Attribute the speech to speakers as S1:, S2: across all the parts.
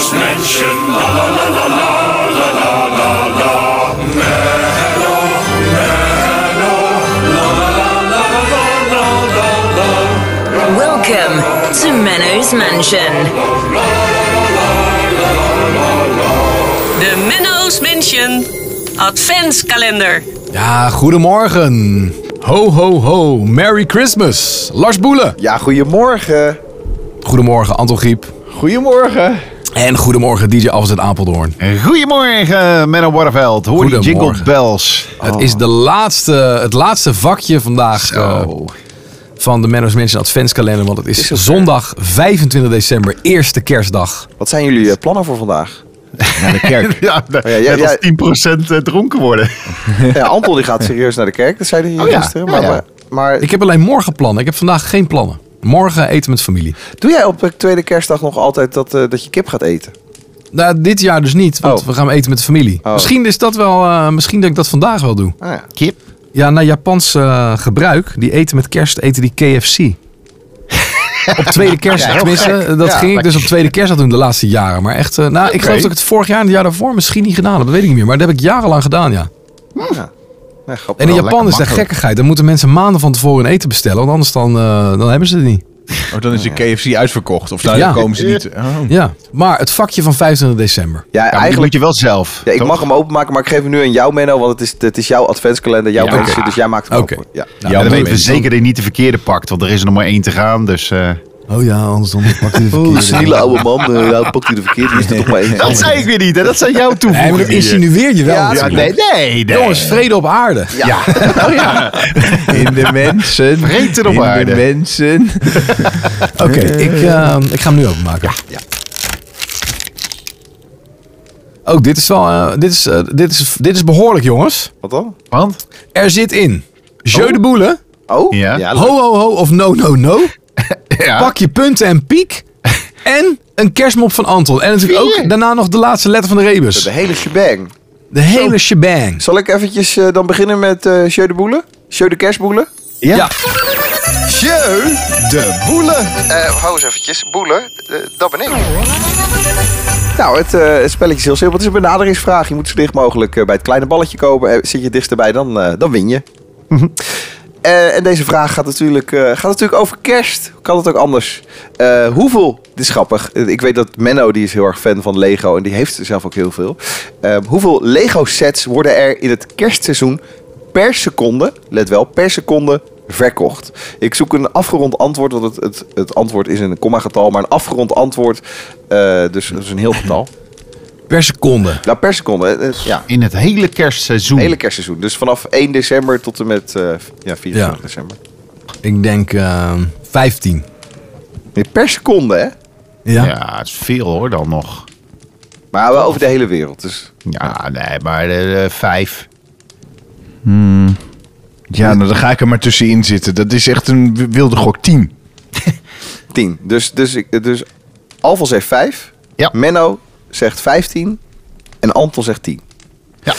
S1: Revolution. La la la la la la la la la. Mello, mello, la la la la la la la la.
S2: Welcome to Menno's Mansion.
S3: De Menno's Mansion Adventskalender.
S4: Ja, goedemorgen. Ho, ho, ho. Merry Christmas. Lars Boelen.
S5: Ja, goedemorgen.
S4: Goedemorgen, Anton Giep.
S5: Goedemorgen.
S4: En goedemorgen, DJ Alves uit Apeldoorn.
S5: Goedemorgen, Menno Warveld. Hoor die
S4: Goedemorgen.
S5: jingle bells.
S4: Het is de laatste, het laatste vakje vandaag eh,
S5: Oh.
S4: van de Menno's Mansion Adventskalender. Want het is zondag 25 december, eerste kerstdag.
S5: Wat zijn jullie eh, plannen voor vandaag?
S6: naar de kerk.
S7: Ja,
S5: ja, ja.
S7: net als 10% dronken worden.
S5: Ja, Anton die gaat serieus naar de kerk, dat zeiden jullie
S7: Oh ja,
S5: gisteren.
S7: ja,
S5: Maar,
S7: ja.
S5: maar, maar
S4: Ik heb alleen morgen plannen. Ik heb vandaag geen plannen. Morgen eten met familie.
S5: doe jij op de tweede kerstdag nog altijd dat, eh, dat je kip gaat eten?
S4: Nou, dit jaar dus niet, want
S5: Oh.
S4: we gaan eten met de familie.
S5: Oh.
S4: Misschien is dat wel, eh, misschien dat ik dat vandaag wel doe.
S5: Ah, ja.
S7: Kip.
S4: Ja, naar Japans eh, gebruik. Die eten met kerst, eten die KFC. op tweede kerst,
S7: heel
S4: tenminste. Dat
S5: Ja,
S4: ging ik
S7: maar-
S4: dus op tweede kerst doen de laatste jaren. Maar echt, eh, nou, ik geloof dat ik het vorig jaar en het jaar daarvoor misschien niet gedaan heb. Dat weet ik niet meer. Maar dat heb ik jarenlang gedaan, ja.
S5: Nee, grappig.
S4: En in Japan
S7: Wel lekker
S4: is dat
S7: makkelijk.
S4: gekkigheid. Dan moeten mensen maanden van tevoren hun eten bestellen. Want anders dan, eh, dan hebben ze het niet.
S6: Oh, dan is de KFC uitverkocht. Of daar
S4: Ja.
S6: komen ze niet. Oh.
S4: Ja. Maar het vakje van 25 december.
S5: Ja,
S7: Ja, eigenlijk
S5: eigenlijk...
S7: moet je wel zelf.
S5: Ja, ik
S7: toch?
S5: mag hem openmaken, maar ik geef hem nu aan jou, Menno, want het is, het is jouw adventskalender, jouw
S7: Ja,
S5: keuze,
S7: oké. Nou,
S5: dus jij maakt hem
S4: Oké.
S5: open. Ja.
S7: Ja, dan
S6: dat
S7: weten we
S6: weet ik.
S7: zeker dat je niet de verkeerde pakt, want er is er nog maar één te gaan. Dus eh,
S4: Oh ja, anders dan pak je de
S5: Die
S4: verkeerde.
S5: sniele oude man, eh, nou pakt hij de verkeerde, die is er toch maar één.
S7: dat zei ik weer niet, hè? dat zijn jouw
S4: Nee, maar
S7: toevoegingen.
S4: dat insinueer je wel.
S5: Ja,
S7: Ja,
S4: natuurlijk.
S7: nee, nee, nee.
S4: Jongens, vrede op aarde.
S7: ja. Oh, ja.
S6: In de mensen.
S7: Vreten op
S6: in
S7: aarde.
S6: de mensen.
S4: Oké, ik, eh, ik ga hem nu openmaken. Ja. Ook dit is wel, eh, dit, is, eh, dit, is, dit is behoorlijk jongens.
S5: Wat dan?
S7: Want?
S4: Er zit in, jeu de boule,
S5: Oh?
S7: Ja.
S5: leuk.
S4: ho ho ho of no no no,
S7: Ja.
S4: pak je punten en piek en een kerstmop van Anton. En natuurlijk ook
S7: Vier.
S4: daarna nog de laatste letter van de
S5: de
S4: rebus.
S5: hele shebang.
S4: De hele shebang.
S5: Zal ik eventjes eh, dan beginnen met eh Jeu de Boelen? Jeu de Kerstboelen?
S7: Ja.
S4: Ja,
S5: Jeu de Boelen. hou eens eventjes. Boelen, eh, dat ben ik. Nou, het, eh, het spelletje is heel simpel. Het is een benaderingsvraag. Je moet zo dicht mogelijk eh, bij het kleine balletje komen. Eh, zit je dichterbij, dan, eh, dan win je. Mhm. Eh, en deze vraag gaat natuurlijk, eh, gaat natuurlijk over kerst. Hoe Kan het ook anders? Eh, hoeveel, dit is grappig. Eh, Ik weet dat Menno, die is heel erg fan van Lego. En die heeft er zelf ook heel veel. Eh, hoeveel Lego sets worden er in het kerstseizoen per seconde, let wel, per seconde verkocht? Ik zoek een afgerond antwoord, want het, het, het antwoord is een komma-getal. Maar een afgerond antwoord, eh, dus dat is een heel getal.
S4: per seconde.
S5: Nou, per seconde, eh, eh, ja.
S7: In het hele kerstseizoen.
S5: Het hele kerstseizoen. Dus vanaf 1 december tot en met eh, ja, 24
S4: Ja.
S5: december.
S4: Ik denk eh, 15.
S5: Nee, Per seconde, hè?
S4: Ja?
S7: Ja, het is veel hoor dan nog.
S5: Maar wel over de hele wereld. Dus
S7: Ja, nee, maar eh, vijf.
S6: Ja, nou, dan ga ik er maar tussenin zitten. Dat is echt een wi- wilde gok. 10.
S5: 10. Dus, dus, ik- dus Alfons zegt 5.
S7: Ja.
S5: Menno zegt 15. En Anton zegt 10.
S7: Ja.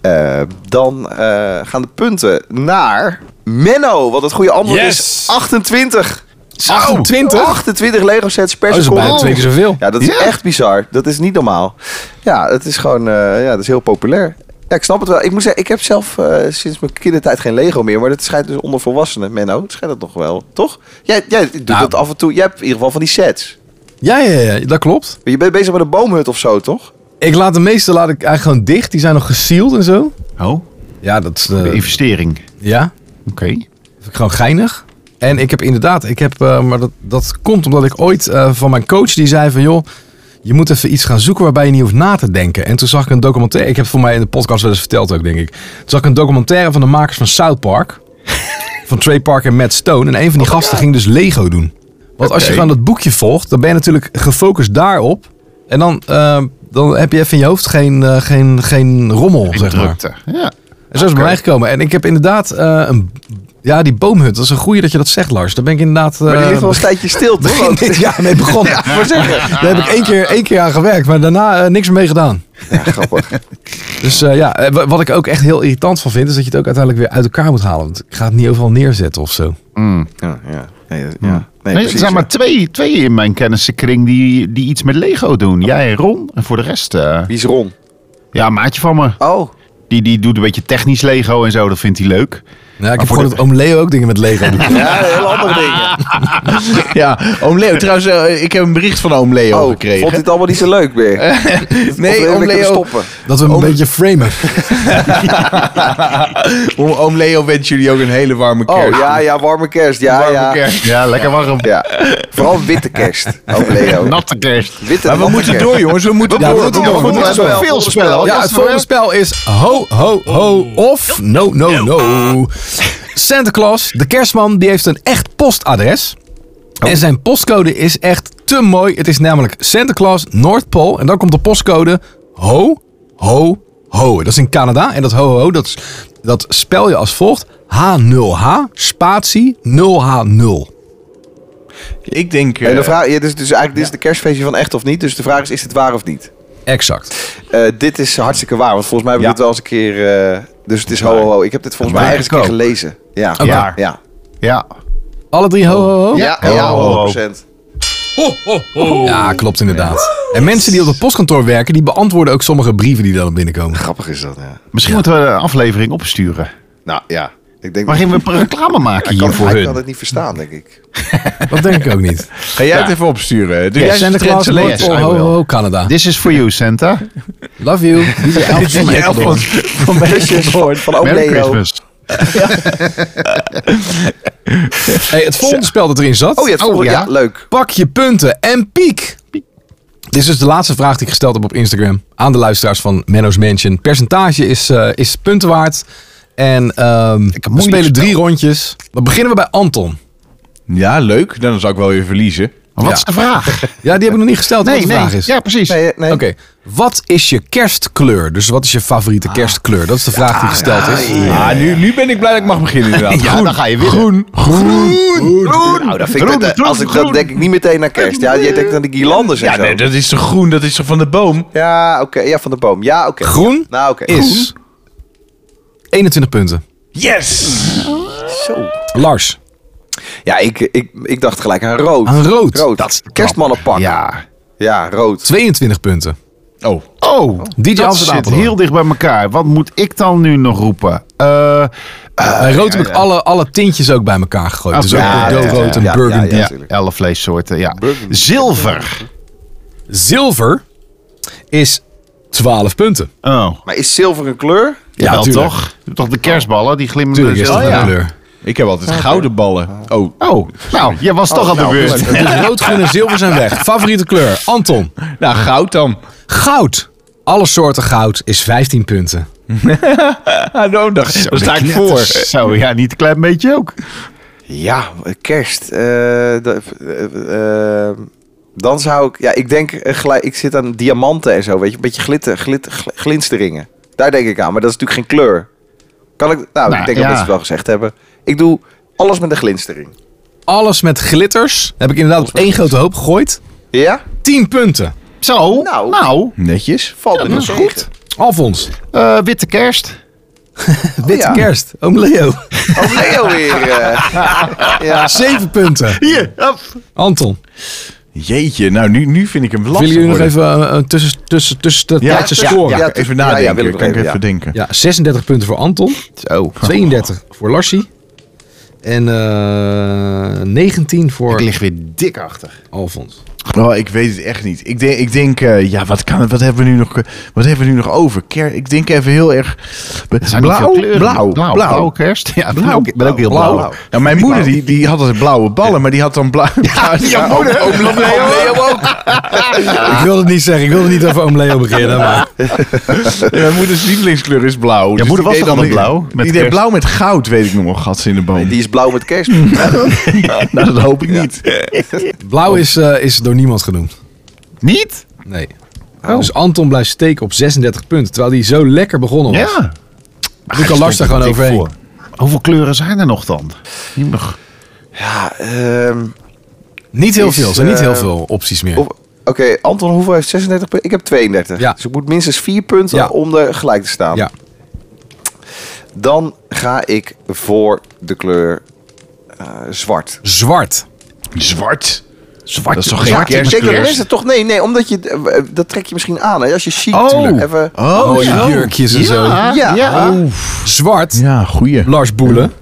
S5: Eh, dan eh, gaan de punten naar Menno. Wat het goede antwoord
S4: Yes!
S5: is 28.
S4: 28?
S5: 28 Lego sets per
S4: Oh, dat is
S5: seconde.
S4: bijna twee keer zoveel.
S5: Ja, dat is
S7: Ja.
S5: echt bizar. Dat is niet normaal. Ja, het is gewoon eh, ja, dat is heel populair. Ja, ik snap het wel. Ik moet zeggen, ik heb zelf eh, sinds mijn kindertijd geen Lego meer. Maar dat schijnt dus onder volwassenen. Menno, het schijnt dat nog wel, toch? Jij, jij doet
S4: Nou.
S5: dat af en toe. Jij hebt in ieder geval van die sets.
S4: Ja, ja, ja, dat klopt.
S5: Maar je bent bezig met een boomhut of zo, toch?
S4: Ik laat de meeste laat ik eigenlijk gewoon dicht. Die zijn nog gesield en zo.
S7: Oh,
S4: Ja, dat is...
S7: de
S4: eh,
S7: investering.
S4: ja,
S7: Oké.
S4: vind ik gewoon geinig. En ik heb inderdaad... Ik heb, eh, maar dat, dat komt omdat ik ooit eh, van mijn coach... Die zei van, joh, je moet even iets gaan zoeken... waarbij je niet hoeft na te denken. En toen zag ik een documentaire... Ik heb het voor mij in de podcast wel eens verteld ook, denk ik. Toen zag ik een documentaire van de makers van South Park. van Trey Park en Matt Stone. En een van die gasten ging dus Lego doen. Want als je
S7: Oké.
S4: gewoon dat boekje volgt... dan ben je natuurlijk gefocust daarop. En dan... eh, dan heb je even in je hoofd geen, eh, geen, geen rommel, zeg maar.
S7: Drukte. Ja.
S4: En zo is het bij mij gekomen. En ik heb inderdaad eh, een, ja, die boomhut. Dat is een goeie dat je dat zegt, Lars. Daar ben ik inderdaad...
S5: Maar die
S4: eh,
S5: ligt wel een tijdje stil, toch?
S4: begin dit jaar mee begonnen. Daar heb ik één keer, één keer aan gewerkt, maar daarna eh, niks meer mee gedaan.
S5: Ja, grappig.
S4: Dus eh, ja, eh, wa- wat ik ook echt heel irritant van vind, is dat je het ook uiteindelijk weer uit elkaar moet halen. Want ik ga het niet overal neerzetten of zo.
S5: Ja, ja. Nee, ja. Nee, Nee,
S7: Nee,
S5: precies,
S7: er zijn
S5: ja.
S7: maar twee, twee in mijn kennissenkring die, die iets met Lego doen. Jij en Ron. En voor de rest, eh,
S5: Wie is Ron?
S7: ja, een maatje van me.
S5: Oh,
S7: Die, die doet een beetje technisch Lego en zo. Dat vindt hij leuk.
S4: Ja, ik heb
S7: voor
S4: gewoon
S7: de-
S4: dat oom Leo ook dingen met Lego doet.
S5: ja, heel andere dingen.
S6: Ja, oom Leo. Trouwens, eh, ik heb een bericht van oom Leo
S5: Oh,
S6: gekregen.
S5: vond dit allemaal niet zo leuk meer? Of wil
S6: nee,
S5: je
S6: oom
S5: lekker
S6: Leo,
S5: stoppen?
S4: Dat we hem een beetje framen.
S6: oom, oom Leo wens jullie ook een hele warme
S5: Oh,
S6: kerst.
S5: ja, ja, warme kerst. Ja,
S6: Warme
S5: ja.
S6: kerst.
S7: Ja, lekker warm.
S5: ja. Vooral witte kerst. Oh, Leo.
S7: Natte kerst.
S5: Witte
S6: Maar we
S5: natte
S6: moeten
S5: kerst.
S6: door, jongens. We moeten
S4: Ja, we
S6: door.
S4: moeten
S6: door.
S4: door.
S6: We
S4: We
S6: moeten
S5: moeten
S6: door.
S5: door.
S6: Veel
S5: Oh,
S6: spellen.
S4: Ja, het volgende spel is ho, ho, ho of no, no, no. Santa Claus, de kerstman, die heeft een echt postadres. En zijn postcode is echt te mooi. Het is namelijk Santa Claus Noordpool. En dan komt de postcode ho, ho, ho. Dat is in Canada. En dat ho, ho, dat, is- dat spel je als volgt. H0H, spatie, 0H0.
S6: Ik denk...
S5: En de
S6: eh,
S5: vraag, ja, dus, dus eigenlijk dit is de kerstfeestje van echt of niet. Dus de vraag is, is dit waar of niet?
S4: Exact.
S5: Eh, dit is hartstikke waar, want volgens mij heb ik
S6: Ja.
S5: dit wel eens een keer... eh, dus het is ho, ho, ho. Ik heb dit volgens mij
S7: waar.
S5: ergens een keer gelezen. Ja,
S4: Oké.
S5: ja. ja.
S7: Ja.
S4: Alle drie ho, ho, ho?
S5: Ja,
S7: ho,
S5: ja,
S7: ho, ho.
S5: 100%.
S4: Ja, klopt inderdaad. En mensen die op het postkantoor werken, die beantwoorden ook sommige brieven die dan binnenkomen.
S5: Grappig is dat, ja.
S7: Misschien moeten we een aflevering opsturen.
S5: Nou, ja. Ik denk
S7: Maar
S5: dat-
S7: gingen we reclame maken
S5: kan,
S7: hier voor
S5: hij kan
S7: hun?
S5: het niet verstaan, denk ik.
S4: Dat denk ik ook niet.
S6: Ga jij het even opsturen? Doe
S7: Ja,
S6: jij
S7: Santa
S6: Santa
S4: Sinterklaas,
S7: Trentse
S4: Noord- oh,
S7: lees, I
S4: ho,
S7: will.
S4: ho, ho, Canada.
S7: This is for you, Santa.
S4: Love you. DJ Elvis van Ecuador.
S6: van
S5: Kusjes van, van oom
S7: Merry
S5: Leo.
S7: Christmas.
S4: Hey, het volgende spel dat erin zat.
S5: Oh ja, het volgende-
S7: ja.
S5: ja, leuk.
S4: Pak je punten en piek. Dit is dus de laatste vraag die ik gesteld heb op Instagram. Aan de luisteraars van Menno's Mansion. Percentage is, eh, is punten waard. En ehm, we
S7: moeilijk
S4: spelen drie
S7: spel.
S4: rondjes. Dan beginnen we bij Anton.
S6: Ja, leuk. Dan zou ik wel weer verliezen.
S7: Maar wat
S4: Ja.
S7: is de vraag?
S4: Ja, die heb ik nog niet gesteld. wat
S7: Nee,
S4: de vraag
S7: nee. eh,
S4: is.
S7: Ja, precies.
S5: Nee, nee.
S4: Oké, wat is je kerstkleur? Dus wat is je favoriete kerstkleur? Dat is de vraag die gesteld is.
S6: Ah, nu, nu ben ik blij dat ik mag beginnen inderdaad.
S7: Ja, dan ga je winnen. Groen.
S5: Nou, dat vind ik,
S7: Groen,
S5: dat-
S7: groen,
S5: als ik,
S7: groen.
S5: dat denk ik niet meteen naar kerst. Ja, jij denkt aan de guirlandes en
S6: Ja,
S5: zo.
S6: nee, dat is toch groen? Dat is toch van de boom?
S5: Ja, oké. Ja, van de boom. Ja, oké.
S4: Groen
S5: Nou, oké.
S4: is 21 punten.
S6: Yes!
S4: Lars,
S5: Ja, ik, ik, ik dacht gelijk aan rood.
S4: Aan rood.
S5: Rood. Kerstmannenpak.
S7: Ja.
S5: Ja, rood.
S4: 22 punten.
S6: Oh,
S7: Oh,
S4: DJ
S7: dat
S4: Amsterdam
S7: zit
S4: verloren.
S7: heel dicht bij elkaar. Wat moet ik dan nu nog roepen? Eh,
S4: Bij rood heb ik alle, alle tintjes ook bij elkaar gegooid.
S7: Ah,
S4: dus ook
S7: ja,
S4: bordeaux rood en
S5: ja,
S4: burgundy.
S5: ja,
S7: ja,
S5: natuurlijk.
S7: elf vleessoorten. Ja. Zilver.
S4: Zilver is 12 punten.
S7: Oh,
S5: Maar is zilver een kleur?
S7: ja, wel
S4: tuurlijk.
S7: toch? Toch de kerstballen, die glimmen.
S4: Tuurlijk is
S7: dus-
S4: dat
S7: oh,
S4: een
S7: ja.
S4: kleur.
S6: ik heb altijd gouden ballen. Oh,
S7: Oh, nou, jij was toch aan de beurt.
S4: Dus rood, groen en zilver zijn weg. Favoriete kleur, Anton.
S6: nou goud dan.
S4: Goud. Alle soorten goud is 15 punten.
S6: Ah, nou, daar daar sta ik voor.
S7: Zo, ja, niet een klein beetje ook.
S5: Ja, kerst. Eh, dat- eh, eh, dan zou ik... Ja, ik denk eh, gelijk... Ik zit aan diamanten en zo, weet je. Een beetje glitter, glitter, gl- glinsteringen. Daar denk ik aan. Maar dat is natuurlijk geen kleur. Kan ik... Nou,
S7: Nou,
S5: ik denk dat
S7: ja.
S5: mensen het wel gezegd hebben. Ik doe alles met een glinstering.
S4: Alles met glitters. Heb ik inderdaad op één grote hoop gegooid.
S5: Ja?
S4: 10 punten.
S7: Zo,
S5: Nou.
S7: nou,
S6: Netjes.
S5: Valt
S7: dat
S5: me
S7: is
S5: niet
S7: goed.
S5: tegen.
S4: Alfons.
S7: eh, witte kerst.
S4: Witte
S5: ja.
S4: kerst. Oom Leo.
S5: Oh, Leo weer. eh. ja.
S4: 7 punten.
S7: Hier, hop.
S4: Anton.
S6: Jeetje, nou nu, nu vind ik hem lastig
S4: Willen jullie nog
S6: worden.
S4: even eh, een tussen, tussen, tussen de
S6: ja,
S4: tijdse
S6: ja,
S4: scoren?
S6: ja,
S5: Ja,
S6: even
S5: tussen-
S6: nadenken.
S5: ja, ja, wil ik
S6: kan ik
S5: even,
S6: even
S5: ja.
S6: denken.
S4: Ja, 36 punten voor Anton.
S7: Zo.
S4: 32 voor Larsie. En eh, 19
S7: Ik
S4: voor
S7: lig weer dik achter.
S4: Alfons.
S6: Oh, ik weet het echt niet. Ik denk, ik denk eh, ja, wat, kan, wat, hebben we nu nog, wat hebben we nu nog over? Ker, ik denk even heel erg...
S7: zijn niet veel kleuren. Nou,
S6: blauw,
S7: Blauw,
S6: blauw,
S7: blauwe kerst. Ja, ik ben ook- ik ben ook heel blauw.
S6: Nou, mijn moeder die, die had altijd blauwe ballen, maar die had dan blauw... Ja, oh,
S7: jouw moeder?
S6: Oom, oom Leo ook.
S4: Ik wilde het niet zeggen. Ik wilde niet over oom Leo beginnen. Maar
S6: Ja, mijn moeders lievelingskleur is blauw. dus
S7: moeder
S6: die
S7: was
S6: deed
S7: toch
S6: dan
S7: altijd
S6: li-
S7: blauw? Met
S6: die deed
S7: kerst.
S6: blauw met goud, weet ik nog wel, gat in de boom.
S5: Die is blauw met kerst.
S6: nou, dat hoop ik niet.
S4: blauw is, eh, is door niemand genoemd.
S7: Niet?
S4: Nee. Dus Anton blijft steken op 36 punten. Terwijl hij zo lekker begonnen was.
S7: Ja.
S4: Doe ik al lastig gewoon overheen.
S7: Hoeveel kleuren zijn er nog dan? Niet nog.
S5: Ja, ehm,
S4: Niet heel
S5: Is,
S4: veel. Er zijn niet heel
S5: eh,
S4: veel opties meer.
S5: of- Oké, Anton, hoeveel heeft 36 punten? Ik heb 32.
S4: Ja.
S5: Dus ik moet minstens 4 punten
S4: Ja.
S5: om er gelijk te staan.
S4: Ja.
S5: Dan ga ik voor de kleur eh, zwart.
S4: Zwart.
S6: Zwart?
S4: Zwart.
S6: Dat is toch geen
S4: zwart-
S6: kerst?
S5: Zeker, dan
S6: Kerst.
S5: is het toch... Nee, nee, omdat je... eh, Dat trek je misschien aan. Hè? Als je chic
S4: Oh.
S5: even...
S4: Mooie
S6: zo.
S4: jurkjes en zo.
S6: Ja,
S5: Ja.
S6: ja. ja.
S4: Zwart.
S6: goeie.
S4: Lars Boelen.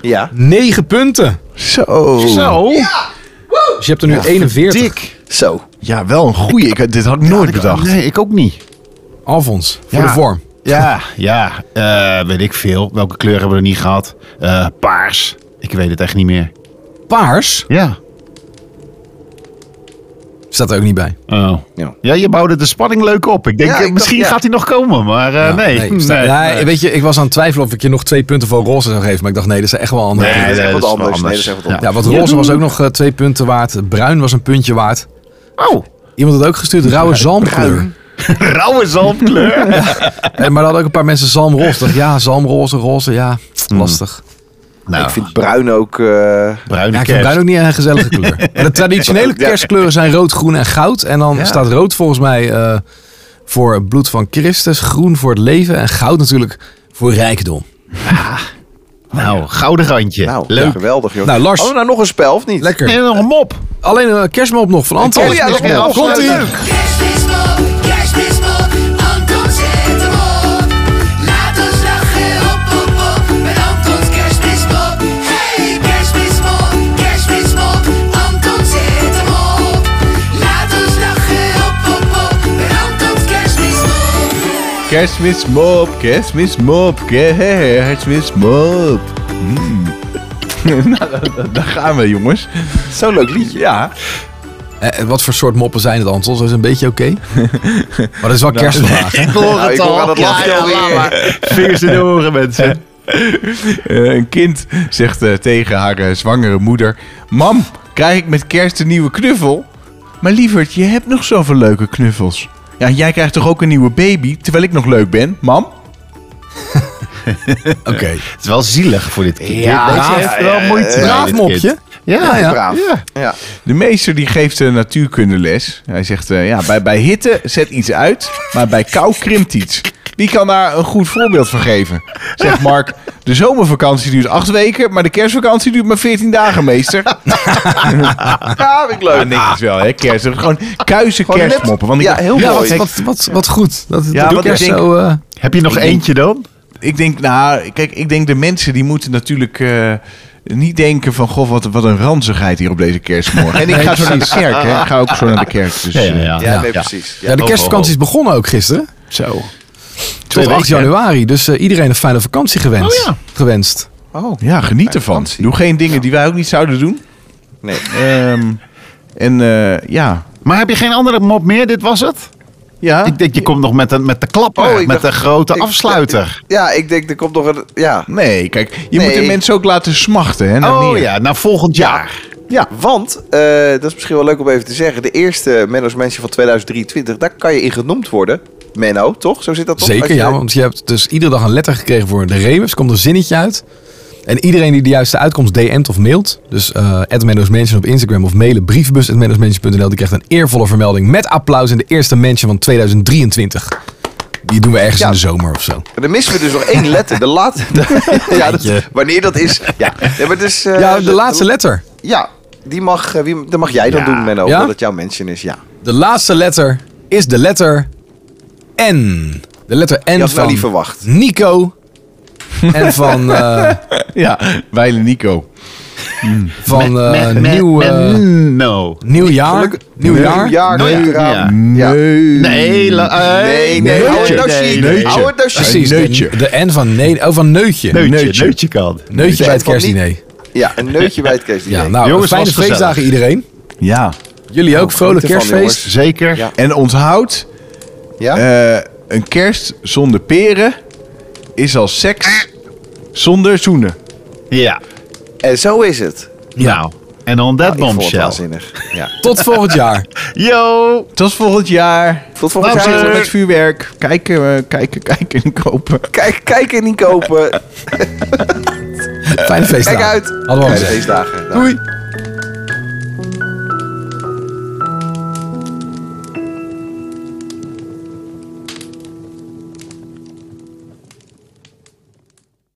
S5: Ja.
S4: 9 punten.
S6: Zo.
S4: Zo. Dus je hebt er nu 41.
S5: Zo.
S6: Ja, wel een goeie. Ik, dit had ik nooit bedacht.
S7: Nee, ik ook niet.
S4: Alfons, voor
S7: Ja.
S4: de vorm.
S7: Ja, ja. eh, weet ik veel. Welke kleur hebben we er niet gehad? Eh, paars. Ik weet het echt niet meer.
S4: Paars
S7: Ja.
S4: staat er ook niet bij.
S7: Oh.
S5: Ja.
S7: Ja, je bouwde de spanning leuk op. Ik denk,
S5: Ja,
S7: eh,
S5: ik
S7: misschien
S5: dacht, ja.
S7: gaat hij nog komen, maar eh, nee.
S4: Nou, nee, staat-
S7: Nee,
S4: nee,
S7: nee.
S4: Weet je, ik was aan het twijfelen of ik je nog twee punten voor roze zou geven. Maar ik dacht, nee, dat zijn echt wel andere
S7: Nee,
S4: punten.
S5: is echt wat
S7: wel
S5: anders. Nee, dat is echt wat
S4: Ja, want roze was ook nog eh, twee punten waard. Bruin was een puntje waard.
S7: Oh,
S4: Iemand had ook gestuurd rauwe zalmkleur.
S7: rauwe zalmkleur.
S4: Eh, maar er hadden ook een paar mensen zalmroze. Ik dacht, ja, zalmroze, roze, ja, lastig.
S7: nou,
S5: Ik vind bruin ook... eh,
S7: bruine
S4: Ja, ik vind
S7: kerst.
S4: bruin ook niet een gezellige kleur. Maar de traditionele kerstkleuren zijn rood, groen en goud. En dan staat rood volgens mij eh, voor het bloed van Christus, groen voor het leven en goud natuurlijk voor rijkdom.
S7: Nou, gouden randje.
S5: nou,
S7: Leuk. Oh
S5: geweldig, joh.
S4: Nou, Lars.
S5: Hadden we nou nog een spel, of niet?
S4: Lekker.
S7: En nog een mop.
S4: Alleen een kerstmop nog van Anton.
S5: Oh ja, dat is wel
S4: Komt ie.
S5: leuk.
S8: Kerstmismop, kerstmismop, Anton zet hem op. Laat ons lachen, op, op, op, met Antons kerstmismop. Hey, kerstmismop, kerstmismop, Anton zet hem op. Laat ons lachen, op, op, op, met Antons kerstmismop.
S6: Kerstmismop, kerstmismop, kerstmismop. Mm. nou, da- da- daar gaan we, jongens.
S5: Zo'n leuk liedje.
S6: Ja.
S4: Eh, wat voor soort moppen zijn het, Anton? Dat is een beetje oké. maar dat is wel kerstvandaag. hè?
S5: Nou, ik hoor aan het lachje alweer.
S6: Vingers in de oren, mensen. Eh, een kind zegt eh, tegen haar eh, zwangere moeder... Mam, krijg ik met kerst een nieuwe knuffel? Maar lieverd, je hebt nog zoveel leuke knuffels. Ja, jij krijgt toch ook een nieuwe baby, terwijl ik nog leuk ben, mam?
S4: Oké.
S7: Het is wel zielig voor dit kind.
S4: Ja,
S7: Deze
S4: ja,
S7: heeft wel moeite. mee,
S4: Braaf
S7: dit
S4: mopje.
S7: kind. Ja, ja.
S5: Braaf. Ja.
S6: De meester die geeft eh, natuurkundeles. Hij zegt, eh, ja, bij, bij hitte zet iets uit, maar bij kou krimpt iets. Wie kan daar een goed voorbeeld van geven? Zegt Mark, de zomervakantie duurt acht weken, maar de kerstvakantie duurt maar veertien dagen, meester.
S5: Ja, vind ik leuk.
S6: Ja, niks wel, hè, kerst. Gewoon kuise
S5: net-
S6: kerstmoppen. Want ik,
S5: ja, heel
S4: Ja,
S5: mooi.
S4: wat, wat, wat, wat goed. Dat,
S6: Ja,
S4: dat
S6: wat
S4: kerst
S6: ik denk-
S4: zo... eh,
S7: Heb je nog eentje dan?
S6: ik denk, nou, kijk, ik denk de mensen die moeten natuurlijk... eh, niet denken van, goh, wat, wat een ranzigheid hier op deze kerstmorgen. En ik ga zo naar de kerk, hè. Ik ga ook zo naar de kerk. Dus, eh,
S5: Ja,
S4: Ja.
S5: nee, precies. Ja.
S4: ja, de
S7: ho,
S4: kerstvakantie is begonnen ook gisteren.
S6: Zo.
S4: Tot 8
S7: weken, hè?
S4: januari. Dus eh, iedereen een fijne vakantie gewenst.
S7: Oh ja.
S4: gewenst.
S6: Oh. Ja, geniet ervan. Doe geen dingen die wij ook niet zouden doen.
S5: Nee.
S6: Ehm, en eh, ja.
S7: Maar heb je geen andere mop meer? Dit was het?
S6: ja.
S7: Ik denk, je komt nog met, een, met de klapper.
S5: Oh, ik
S7: met
S5: dacht-
S7: de grote
S5: ik-
S7: afsluiter.
S5: ja, ik denk, er komt nog een... Ja,
S6: Nee, kijk, je
S5: Nee.
S6: moet de mensen ook laten smachten. Hè, naar
S7: oh
S6: meer.
S7: ja, naar volgend jaar.
S5: ja want, eh, dat is misschien wel leuk om even te zeggen... de eerste Menno's Mansion van 2023, daar kan je in genoemd worden. Menno, toch? Zo zit dat toch? Als
S4: Zeker,
S5: je-
S4: ja. Want je hebt dus iedere dag een letter gekregen voor de remers. Komt een zinnetje uit. En iedereen die de juiste uitkomst DM't of mailt. Dus eh @menno'smansion op Instagram of mailen brievenbus menno'smansion.nl. Die krijgt een eervolle vermelding met applaus in de eerste mention van 2023. Die doen we ergens in de zomer of zo.
S7: Eh,
S5: En Dan missen we dus nog één letter. De laatste... ja, dat, wanneer dat is... Ja, nee, maar dus, eh,
S4: Ja, de laatste letter.
S5: Ja, die mag, eh, wie, dat mag jij dan doen, Menno.
S4: Ja?
S5: Dat het jouw mention is, ja.
S4: De laatste letter is de letter N. De letter N
S5: nou
S4: van
S5: niet verwacht.
S4: Nico. En van, eh,
S6: ja. Wijlen Nico.
S4: van eh,
S7: Met- met-
S4: nieuw,
S7: met-
S4: eh,
S7: no.
S4: nieuw jaar. Nieuw jaar.
S5: Ja,
S7: Nee,
S5: nee, ja.
S7: ja.
S5: Ja.
S7: Nou. Nee, la- eh,
S5: Mm. Nee, nee, hou het nou chic.
S6: Neutje.
S5: Hou het nou chic.
S4: Precies.
S6: Neutje.
S4: De, de N van, nee, oh, van neutje.
S7: Neutje,
S6: Neutje.
S7: neutje. kan.
S4: Neutje bij het
S5: Van niet-
S4: kerstdiner.
S5: Ja, een neutje bij het kerstdiner.
S4: Ja, nou,
S7: Jongens,
S4: fijne
S7: was gezellig.
S4: feestdagen iedereen.
S6: Ja.
S4: Jullie ook, vrolijk
S5: geniet ervan,
S4: kerstfeest.
S5: jongens.
S7: Zeker.
S5: Ja.
S6: En onthoud,
S5: ja?
S6: eh, een kerst zonder peren is als seks zonder zoenen.
S7: Ja.
S5: en Eh, zo is het.
S7: Nou, en on that
S5: Ik vond het
S7: bombshell.
S5: waanzinnig. Ja.
S4: Tot volgend jaar.
S7: Yo!
S6: Tot volgend jaar.
S5: Tot volgend
S6: Laat
S5: jaar.
S6: ze Met vuurwerk. Kijken, eh, kijken, kijken en kopen.
S5: Kijk, kijk en niet kopen.
S4: Fijne feestdagen.
S5: Kijk uit.
S4: Hadden we al
S5: Fijne
S4: gezegd.
S5: feestdagen. Nou.
S6: Doei.